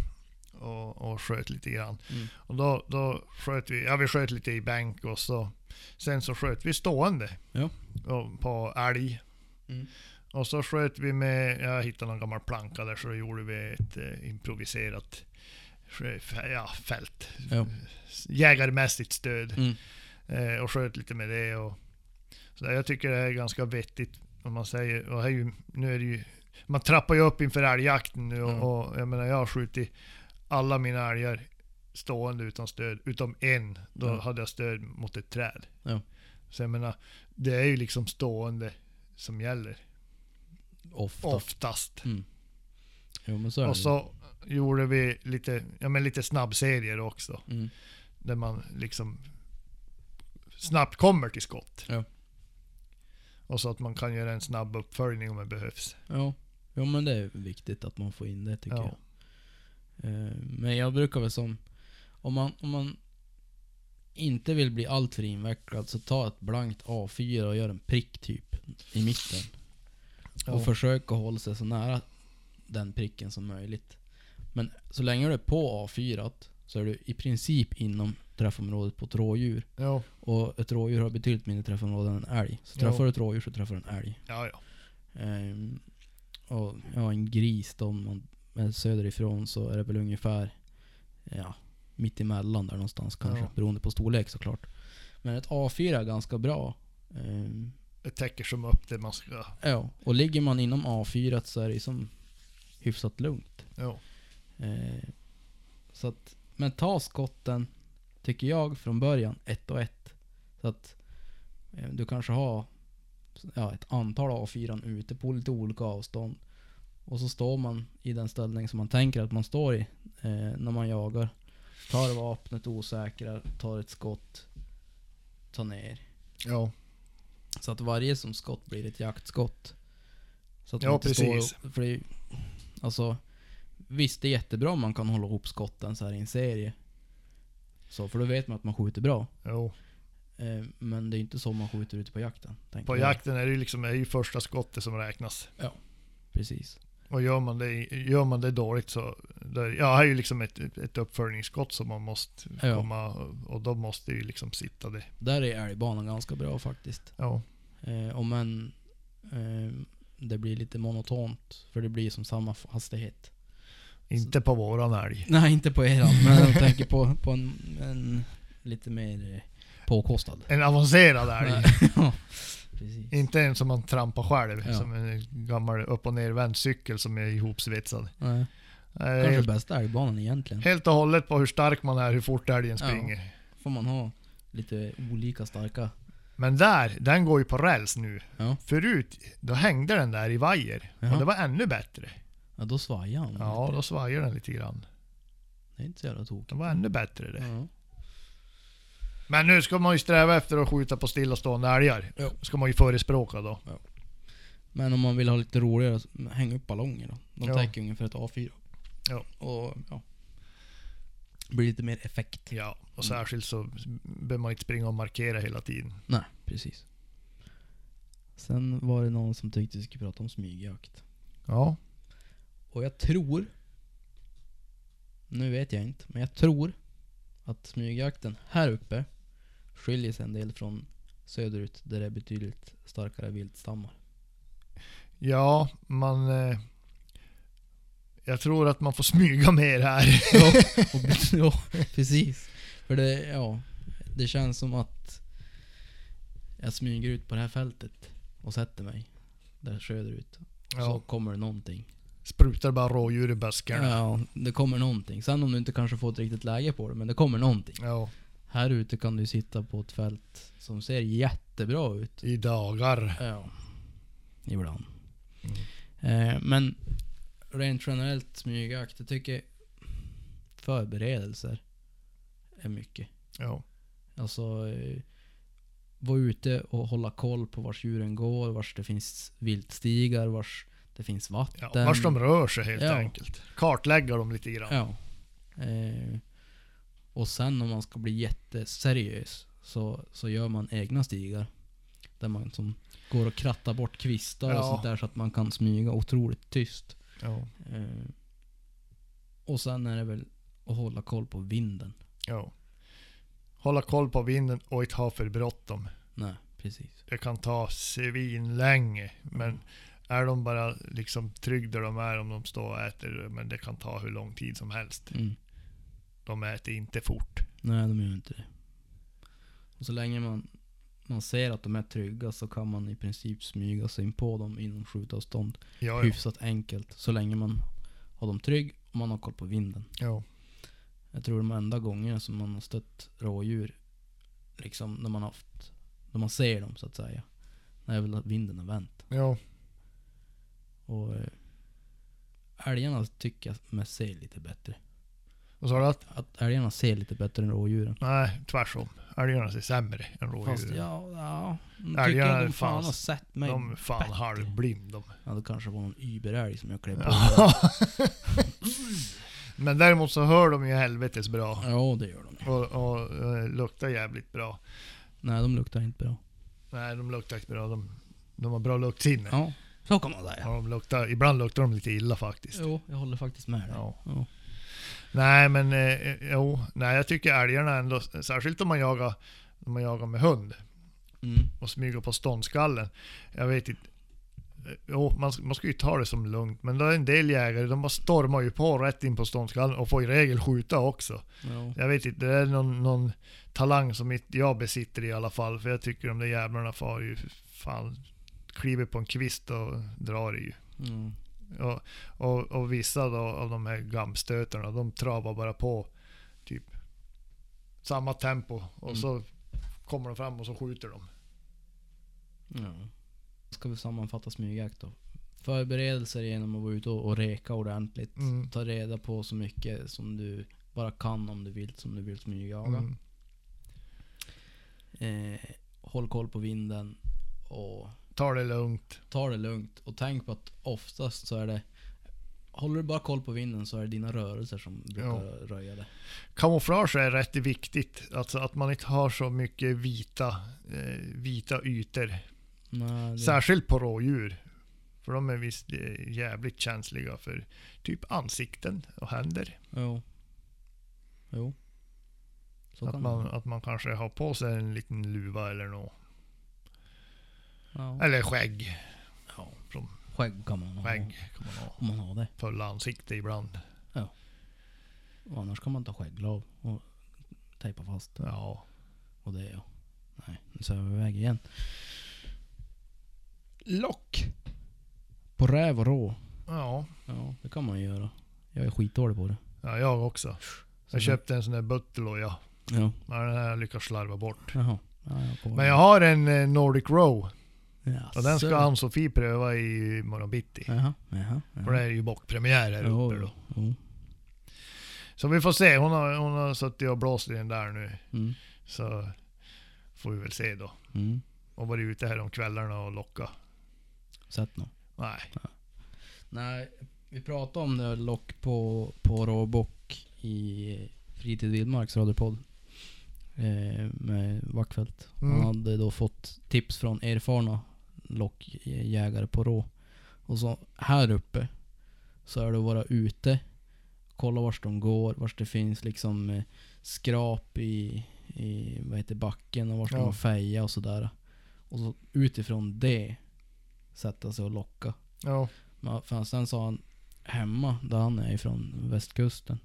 och, och sköt lite grann.
Mm.
Och då, då sköt vi, ja vi sköt lite i bänk och så. Sen så sköt vi stående.
Ja.
Och på älg.
Mm.
Och så sköt vi med, jag hittade någon gammal planka där så då gjorde vi ett eh, improviserat skö- fä- ja, fält.
Ja.
Jägarmässigt stöd.
Mm.
Eh, och sköt lite med det. Och, så där. Jag tycker det här är ganska vettigt. Om man säger, och här är ju, nu är det ju, man trappar ju upp inför älgjakten nu och,
Mm.
och jag menar jag har skjutit alla mina älgar stående utan stöd, utom en. Då
Mm.
hade jag stöd mot ett träd.
Ja.
Så jag menar, det är ju liksom stående som gäller.
Ofta.
oftast.
Mm. Jo men så är
Och
det.
så gjorde vi lite, ja, men lite snabbserier också.
Mm.
Där man liksom snabbt kommer till skott.
Ja.
Och så att man kan göra en snabb uppföljning om det behövs.
Ja. Jo men det är viktigt att man får in det tycker
Ja.
jag. Eh, Men jag brukar väl som... Om man, om man inte vill bli alltför invecklad så ta ett blankt A4 och gör en prick typ i mitten.
Ja.
Och försök att hålla sig så nära den pricken som möjligt. Men så länge du är på A4 så är du i princip inom träffområdet på ett rådjur.
Ja,
Och ett rådjur har betydligt mindre träffområde än en älg. Så
Ja.
träffar du ett rådjur så träffar du en älg.
ja, ja.
Ehm, och ja, en gris då, om man är söderifrån så är det väl ungefär ja, mitt emellan där någonstans kanske.
Ja.
Beroende på storlek såklart. Men ett A4 är ganska bra. Ehm,
Det täcker som upp det man ska.
ja, och ligger man inom A4 så är det som hyfsat lugnt.
Ja,
Ehm, så att, men ta skotten, tycker jag, från början, ett och ett. Så att eh, du kanske har ja, ett antal A4 ute på lite olika avstånd. Och så står man i den ställning som man tänker att man står i eh, när man jagar. Tar vapnet osäkra, tar ett skott, tar ner.
ja,
Så att varje som skott blir ett jaktskott. Så att
Ja,
man inte
precis.
Står och, för det, är ju- alltså, visst, det är jättebra om man kan hålla ihop skotten så här i en serie. Så, för då vet man att man skjuter bra.
jo.
Eh, men det är inte så man skjuter ute på jakten. tänker
På
jag.
jakten är det ju liksom det är ju första skottet som räknas.
Precis.
Och gör man det, gör man det dåligt så, det, ja, här är ju liksom ett, ett uppföljningsskott som man måste
Ja.
komma, och- och då måste det ju liksom sitta det.
Där är älgbanan ganska bra faktiskt.
Ja,
Eh, om än eh, det blir lite monotont. För det blir som samma hastighet.
inte på våran älg.
Nej, inte på eran. Men jag tänker på, på en, en lite mer eh, påkostad.
En avancerad älg.
Ja, precis.
Inte en som man trampar själv,
Ja.
som en gammal upp och nervänd cykel som är ihopsvetsad.
Nej.
Eh,
Kanske
Helt,
bästa älgbanan egentligen.
helt och hållet på hur stark man är, hur fort älgen
Ja.
springer.
Får man ha lite olika starka.
Men där, den går ju på räls nu.
Ja.
Förut, då hängde den där i vajer.
Jaha. Mm.
Och det var ännu bättre.
Ja, då svajar han.
Ja, då svajade den lite grann.
Det är inte så jävla tokigt.
Det var ännu bättre det.
Ja.
Men nu ska man ju sträva efter att skjuta på stillastående älgar.
Ja.
Ska man ju förespråka då.
Men om man vill ha lite roligare, så häng upp ballonger då. De
Ja.
täcker ungefär ett A4.
Ja.
Och ja. Blir lite mer effekt.
Ja, och särskilt så behöver man inte springa och markera hela tiden.
Nej, precis. Sen var det någon som tyckte vi skulle prata om smygjakt.
Ja,
Och jag tror... Nu vet jag inte, men jag tror att smygjakten här uppe skiljer sig en del från söderut där det är betydligt starkare viltstammar.
ja man... Eh, jag tror att man får smyga mer här.
ja, och- ja, precis. För det, ja, det känns som att jag smyger ut på det här fältet och sätter mig där söderut. Och Så
Ja,
kommer det någonting.
sprutar bara rådjur i buskarna. Ja.
Ja, det kommer någonting. Sen om du inte kanske får ett riktigt läge på det, men det kommer någonting. Här ute kan du sitta på ett fält som ser jättebra ut.
i dagar.
Ja. Ibland.
Mm.
Eh, men rent generellt smygjakt, jag tycker förberedelser är mycket.
Ja,
Alltså eh, vara ute och hålla koll på vars djuren går, vars det finns viltstigar, vars det finns vatten.
ja. Vars de rör sig helt
Ja.
enkelt. Kartlägga dem lite grann.
Ja. Eh, och sen om man ska bli jätteseriös så, så gör man egna stigar. Där man som går och krattar bort kvistar
Ja.
och sånt där så att man kan smyga otroligt tyst.
Ja.
Eh, och sen är det väl att hålla koll på vinden.
ja. Hålla koll på vinden och inte ha för bråttom.
Nej, precis.
Det kan ta svinlänge. Men är de bara liksom trygg där de är om de står och äter. Men det kan ta hur lång tid som helst.
Mm.
De äter inte fort.
Nej, de gör inte det. Och så länge man, man ser att de är trygga så kan man i princip smyga sig in på dem inom skjutavstånd.
Ja, ja.
hyfsat enkelt. Så länge man har dem trygg och man har koll på vinden.
ja.
Jag tror de enda gångerna som man har stött rådjur, liksom när man haft, när man ser dem så att säga. När jag vill att vinden har vänt.
ja.
Och eh, älgarna tycker jag mig se lite bättre.
Vad sa du? Att,
Att älgarna ser lite bättre än rådjuren.
nej, tvärsom. Älgarna ser sämre än rådjuren.
Fast ja, ja. de
Älgarna
Tycker jag de fan
fanns-
har sett mig.
de är fan
bättre.
halvblind de.
Ja, det kanske var någon überälg som jag klev på.
Ja. Men däremot så hör de ju helvetes bra.
Ja, det gör de.
Och, och eh, luktar jävligt bra.
Nej, de luktar inte bra.
Nej, de luktar inte bra. De, de har bra luktsinne. Ja.
Ja, så kan man säga.
de luktar, ibland luktar de lite illa faktiskt.
Jo, jag håller faktiskt med dig.
Ja.
Ja.
Nej, men eh, jo. Nej, jag tycker älgarna ändå, särskilt om man jagar, om man jagar med hund
Mm.
och smyger på ståndskallen. Jag vet inte. Eh, Jo, man, man ska ju ta det som lugnt, men då är en del jägare, de bara stormar ju på rätt in på ståndskallen och får i regel skjuta också.
Ja.
Jag vet inte, det är någon, någon talang som inte jag besitter i alla fall. För jag tycker de där jävlarna far ju fan, kliver på en kvist och drar ju.
Mm.
Och, och, och vissa då, av de här gamstötarna, de travar bara på typ samma tempo. Och
Mm.
så kommer de fram och så skjuter de.
Ja. Ska vi sammanfatta smygjakt då? Förberedelser genom att vara ute och och reka ordentligt.
Mm.
Ta reda på så mycket som du bara kan om du vill, som du vill smygjaga.
Mm.
Eh, håll koll på vinden och
Tar det lugnt.
ta det lugnt. Och tänk på att oftast så är det Håller du bara koll på vinden så är det dina rörelser som brukar röja det.
Kamouflage är rätt viktigt. Alltså att man inte har så mycket vita, eh, vita ytor.
Nej, det
Särskilt på rådjur. För de är visst eh, jävligt känsliga för typ ansikten och händer.
Jo. Jo. Så
Att
kan
man,
det
att man kanske har på sig en liten luva eller något.
ja.
Eller skägg.
ja.
Från
Skägg kan man ha.
skägg kan man ha.
Om man har det.
Fulla ansikte ibland.
Och annars kan man ta skägglav och tejpa fast.
Ja.
Och det ja. Nej, nu svävar vi iväg igen. Lock! På räv och rå.
Ja,
Ja, det kan man ju göra. Jag är skitdålig på det.
ja jag också.
Så det-
Jag köpte en sån där Butterloja.
Ja.
Men den här har jag lyckats slarva bort.
Jaha. Ja, jag kommer
Men jag
ihåg.
har en eh, Nordic Row.
Jaså.
Och den ska Ann-Sofie pröva i morgon bitti.
Jaha, jaha. jaha.
För det är ju bockpremiär här
Jo,
uppe då.
jo.
Så vi får se. Hon har, hon har suttit och blåst i den där nu.
Mm.
Så får vi väl se då.
Mm.
Och varit ute här om kvällarna och locka.
Sett nå.
Nej.
Nej, vi pratade om det lock på, på råbock i Fritid Vildmarks radiopodd. Eh, med Wackfeldt.
Mm.
Han hade då fått tips från erfarna lockjägare på rå. Och så här uppe så är det att vara ute, kolla vars de går, vars det finns liksom eh, skrap i, i vad heter backen och vars de
Ja.
har feja och sådär. Och så utifrån det sätta sig och locka.
Ja.
Ja, för sen sa han hemma, där han är ifrån, västkusten.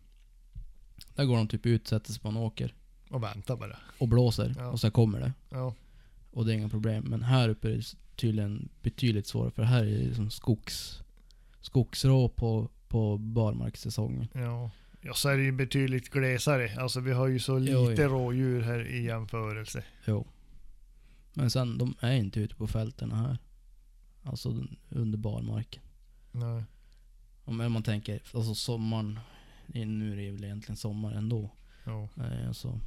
Där går de typ ut, sätter sig på en åker
Och vänta bara.
och blåser
Ja.
och sen kommer det.
Ja.
Och det är inga problem. Men här uppe är det tydligen betydligt svårare för här är det liksom skogs, skogsrå på, på barmarkssäsongen.
Ja. Ja, så är det ju betydligt glesare. Alltså vi har ju så lite
Jo, ja.
rådjur här i jämförelse.
Jo. Men sen, de är inte ute på fälten här. Alltså den- under barmarken.
Nej.
Om om man tänker, alltså sommaren, nu är det väl egentligen sommar ändå.
Ja.
Nej, alltså.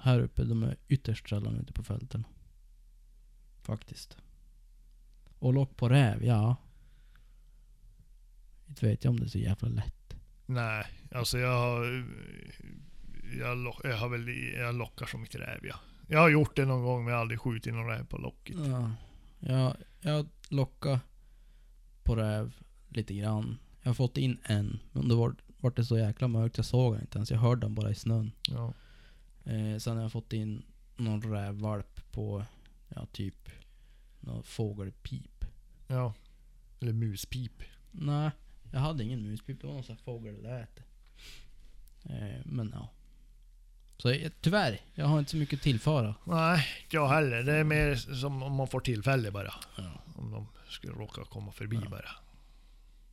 Här uppe, de är ytterst sällan ute på fälten. Faktiskt. Och lock på räv, ja. Inte vet jag om det är så jävla lätt.
Nej. Alltså jag har... Jag, lock, jag, har väl, jag lockar som mitt räv ja. Jag har gjort det någon gång men jag har aldrig skjutit någon räv på locket.
Ja, jag, jag lockade på räv lite grann. Jag har fått in en, men då var, var det så jäkla mörkt jag såg den inte ens. Jag hörde den bara i snön.
Ja.
Eh, sen har jag fått in någon rävvalp på, ja typ, någon fågelpip.
ja. Eller muspip.
Nej, jag hade ingen muspip. Det var någon sån här fågelläte. Eh, men ja. Så jag, tyvärr, jag har inte så mycket att tillföra.
Nej, inte jag heller. Det är mer som om man får tillfälle bara.
Ja.
Om de skulle råka komma förbi
Ja.
bara.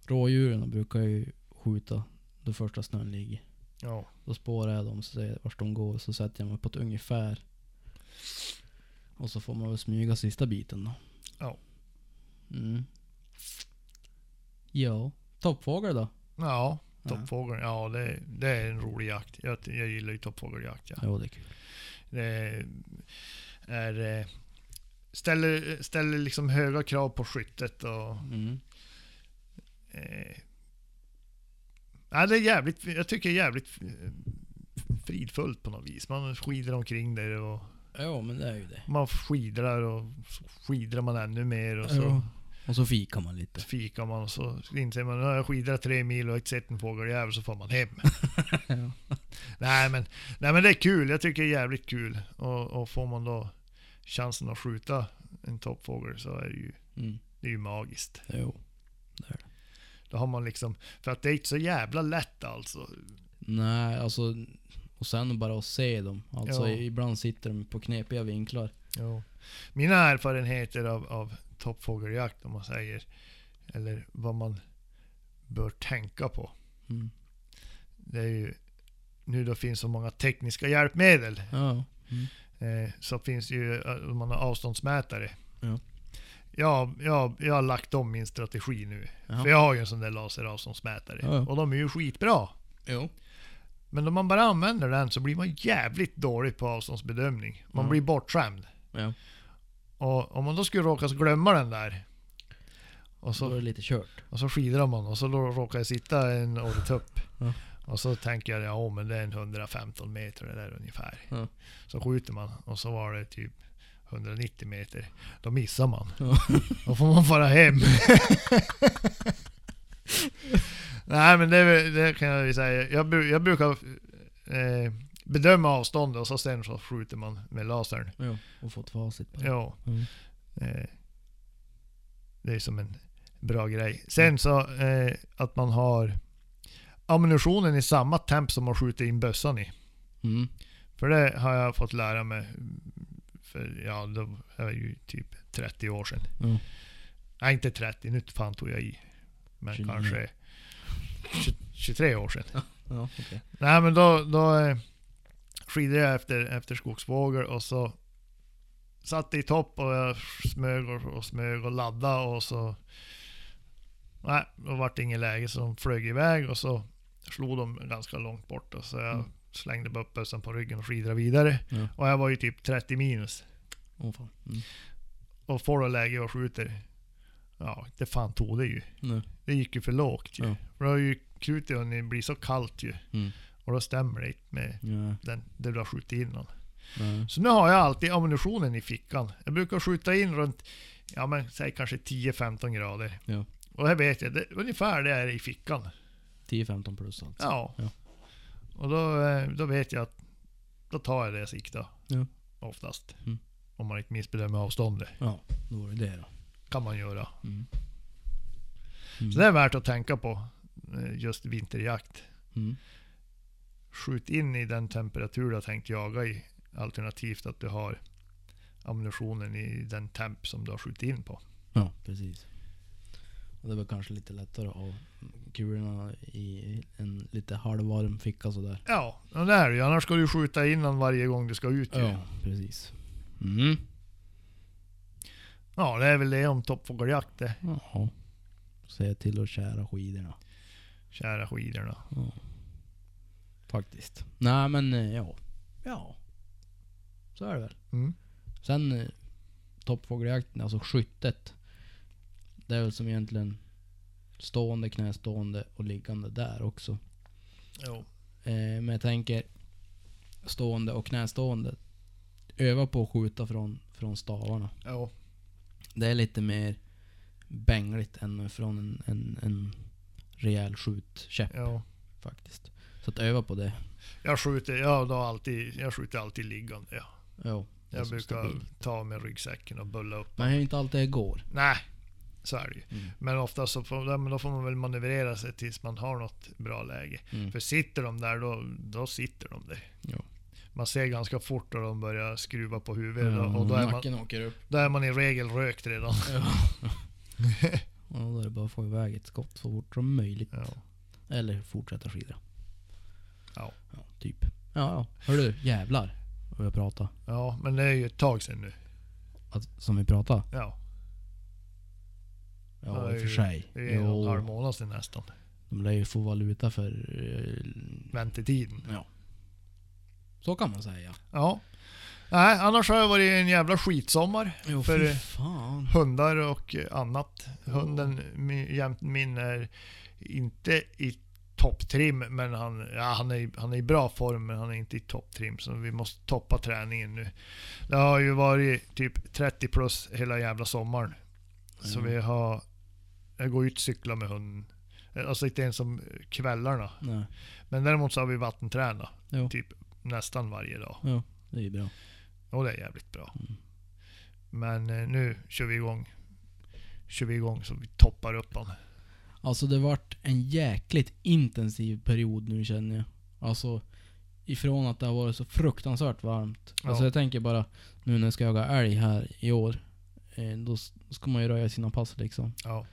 Rådjuren brukar ju skjuta då första snön ligger.
Ja.
Då spårar jag dem, så ser jag vart de går, så sätter jag mig på ett ungefär. Och så får man väl smyga sista biten då.
Ja.
Mm. Ja. Toppfågel då?
Ja, toppfågeln. Ja, det, det är en rolig jakt. Jag, jag gillar ju toppfågeljakt. Ja.
Jo, det är kul.
Det är, eh, ställer, ställer liksom höga krav på skyttet och...
Mm.
Eh, ja, det är jävligt, jag tycker det är jävligt eh, fridfullt på något vis. Man skidar omkring där och
Ja, men det är ju det.
man skidrar och så skidrar man ännu mer och så
Jo. Och så fikar man lite.
fikar man och så inser man nu har jag skidrat tre mil och inte sett en fågeljävel så får man hem.
Ja.
nej, men, nej men det är kul, jag tycker det är jävligt kul. Och, och får man då chansen att skjuta en toppfågel så är det ju,
Mm.
det är ju magiskt.
Jo.
Då har man liksom, för att det är inte så jävla lätt alltså.
Nej, alltså... Och sen bara att se dem. Alltså
Ja.
ibland sitter de på knepiga vinklar.
Jo. Mina erfarenheter av, av toppfågeljakt om man säger, eller vad man bör tänka på.
Mm.
Det är ju, nu då finns så många tekniska hjälpmedel
Ja.
eh, så finns ju, eh, om man har avståndsmätare.
Ja.
Jag, jag, jag har lagt om min strategi nu.
Jaha.
För jag har ju en sån där laseravståndsmätare.
Ja, ja.
Och de är ju skitbra.
Jo.
Men om man bara använder den så blir man jävligt dålig på avståndsbedömning. Man
Ja.
blir bortskämd.
Ja.
Och om man då skulle råka så glömma den där. Och
Så var
så,
det lite kört.
och så skidrar man och så då råkar jag sitta en orretupp.
Ja.
Och så tänker jag, ja men det är en 115 meter det där ungefär.
Ja.
Så skjuter man och så var det typ 190 meter. Då missar man.
Ja.
Då får man fara hem. Nej men det, är väl- det kan jag ju säga. Jag, bru- jag brukar eh, bedöma avståndet och så sen så skjuter man med lasern.
Jo. Och fått facit på det.
Ja.
Mm.
Eh, det är som en bra grej. Sen så eh, att man har ammunitionen i samma temp som man skjuter in bössan i.
Mm.
För det har jag fått lära mig mm, för ja, det var ju typ 30 år sedan.
Ja.
Nej, inte 30, nu fan tog jag i. Men
29.
kanske 20, 23 år sedan.
Ja, okej.
Nej men då, då eh, skidade jag efter, efter skogsfågel och så satt i topp och jag smög och, och smög och laddade och så... Nej, då vart det inget läge så de flög iväg och så slog de ganska långt bort och så jag
Mm.
slängde bara upp bössan på ryggen och skidade vidare.
Ja.
Och jag var ju typ 30 minus.
Åh fan. Mm.
Och får då läge och skjuter. Ja, det fan tog det ju.
Nu.
Det gick ju för lågt ju.
Ja.
För då har ju krutet hunnit bli så kallt ju.
Mm.
Och då stämmer det inte med
Ja.
den, där du har skjutit in någon.
Nej.
Så nu har jag alltid ammunitionen i fickan. Jag brukar skjuta in runt, ja men säg kanske 10-15 grader.
Ja.
Och det vet jag, det, ungefär det är i fickan.
10-15 plus alltså.
Ja.
Ja.
Och då, eh, då vet jag att då tar jag det jag siktar.
Ja.
Oftast.
Mm.
Om man inte missbedömer avståndet.
Ja, då var det det då.
Kan man göra.
Mm.
Så det är värt att tänka på. eh, Just vinterjakt.
Mm.
Skjut in i den temperatur du har tänkt jaga i. Alternativt att du har ammunitionen i den temp som du har skjutit in på.
Ja, precis. Och det var kanske lite lättare att ha kulorna i en lite halvvarm ficka sådär.
Ja, men det är det ju. Annars ska du skjuta innan varje gång du ska ut ju.
Ja, precis. Mm.
ja, det är väl det om toppfågeljakt eh, det.
Jaha. Se till att kära skidorna.
Kära skidorna.
Ja. Faktiskt. Nej men eh, ja. Ja. Så är det väl.
Mm.
Sen eh, toppfågeljakten, alltså skyttet. Det är väl som egentligen stående, knästående och liggande där också.
Jo.
Eh, men jag tänker stående och knästående. Öva på att skjuta från, från stavarna.
Jo.
Det är lite mer bängligt än från en, en, en rejäl skjutkäpp
jo.
faktiskt. Så att öva på det.
Jag skjuter, jag, då alltid, jag skjuter alltid liggande. Ja.
Jo, det är
Jag
så
brukar
stabilt.
ta med ryggsäcken och bulla upp.
Men det är inte alltid det går.
Nej, så är det ju.
Mm.
Men ofta så får, ja, men då får man väl manövrera sig tills man har något bra läge.
Mm.
För sitter de där, då, då sitter de där.
Jo.
Man ser ganska fort när de börjar skruva på huvudet.
Ja,
och då är, man,
Mm. nacken åker upp.
då är man i regel rökt redan.
Ja. och då är det bara att få iväg ett skott så fort som möjligt.
Ja.
Eller fortsätta skidra.
Ja.
Ja, typ. Ja, ja. Hörru, jävlar. Vad jag pratar.
Ja, men det är ju ett tag sedan nu.
Att, som vi pratar.
Ja.
Ja, i och för sig.
Det är en och en halv
Jo,
månad sedan nästan.
de lär ju få valuta för... eh,
Väntetiden.
Ja. Så kan man säga.
Ja. Nej, annars har det varit en jävla skitsommar.
Jo,
För-
fy fan.
Hundar och annat. Hunden mi- jämt min är inte i topptrim, men han, ja, han, är, i- han är i bra form, men han är inte i topptrim. Så vi måste toppa träningen nu. Det har ju varit typ 30 plus hela jävla sommaren. Så
Mm.
vi har... Jag går ut och cyklar med hunden. Alltså inte ens om kvällarna.
Nej,
Men däremot så har vi vattentränat.
Jo.
Typ nästan varje dag.
det är ju bra.
Och det är jävligt bra.
Mm.
Men eh, nu kör vi igång. Kör vi igång så vi toppar upp han.
Alltså det vart en jäkligt intensiv period nu känner jag. Alltså ifrån att det har varit så fruktansvärt varmt.
Ja.
Alltså jag tänker bara nu när jag ska jaga älg här i år. eh, Då s- ska man ju röja sina pass liksom.
Ja.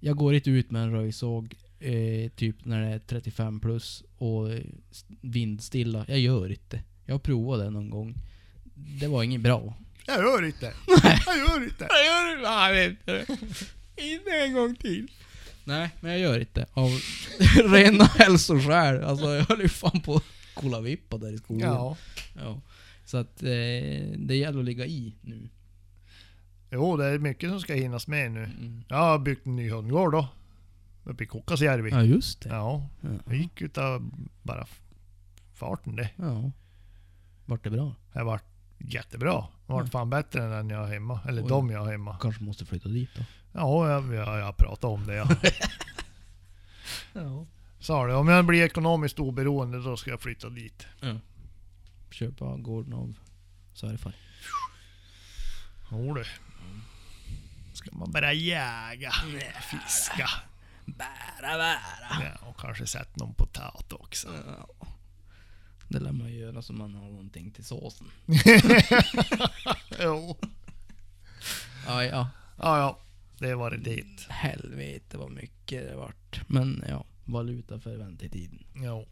Jag går inte ut med en röjsåg eh, typ när det är 35 plus och eh, s- vindstilla. Jag gör inte. Jag har provat det någon gång. Det var inget bra.
Jag gör inte. Jag gör inte.
Jag gör fan inte det. Inte en gång till. Nej, men jag gör inte. Av rena hälsoskäl. Alltså jag höll ju fan på att kolla vippa där i skogen.
Ja.
Ja. Så att eh, det gäller att ligga i nu.
Jo, det är mycket som ska hinnas med nu.
Mm.
Jag har byggt en ny hundgård då. Uppe i Kukkasjärvi.
Ja, just det.
Ja.
Ja.
Jag gick utav bara f- farten det.
ja. Vart det bra?
Det har varit jättebra. Det har varit
Ja.
fan bättre än den jag har hemma. Eller
Oj.
de jag har hemma.
Kanske måste flytta dit då.
Ja, jag, jag, jag pratar om det ja.
Ja.
Sa du, om jag blir ekonomiskt oberoende då ska jag flytta dit.
Köpa gården av svärfar.
Jo du. Ska man bara jaga, fiska
Bära, bära.
ja, och kanske sätta någon potat också.
Ja. Det lär man ju göra så man har någonting till såsen.
Jo.
Ja, ja.
Ja, ja. Det var det dit.
Helvete vad mycket det vart. Men ja, valuta för väntetiden.
Jo.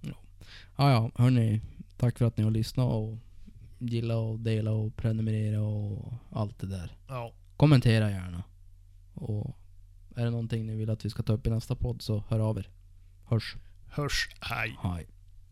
Ja, ja, hörni. Tack för att ni har lyssnat och gilla och dela och prenumerera och allt det där.
Ja.
Kommentera gärna. Och är det någonting ni vill att vi ska ta upp i nästa podd så hör av er. Hörs.
Hörs, hej.
Hej.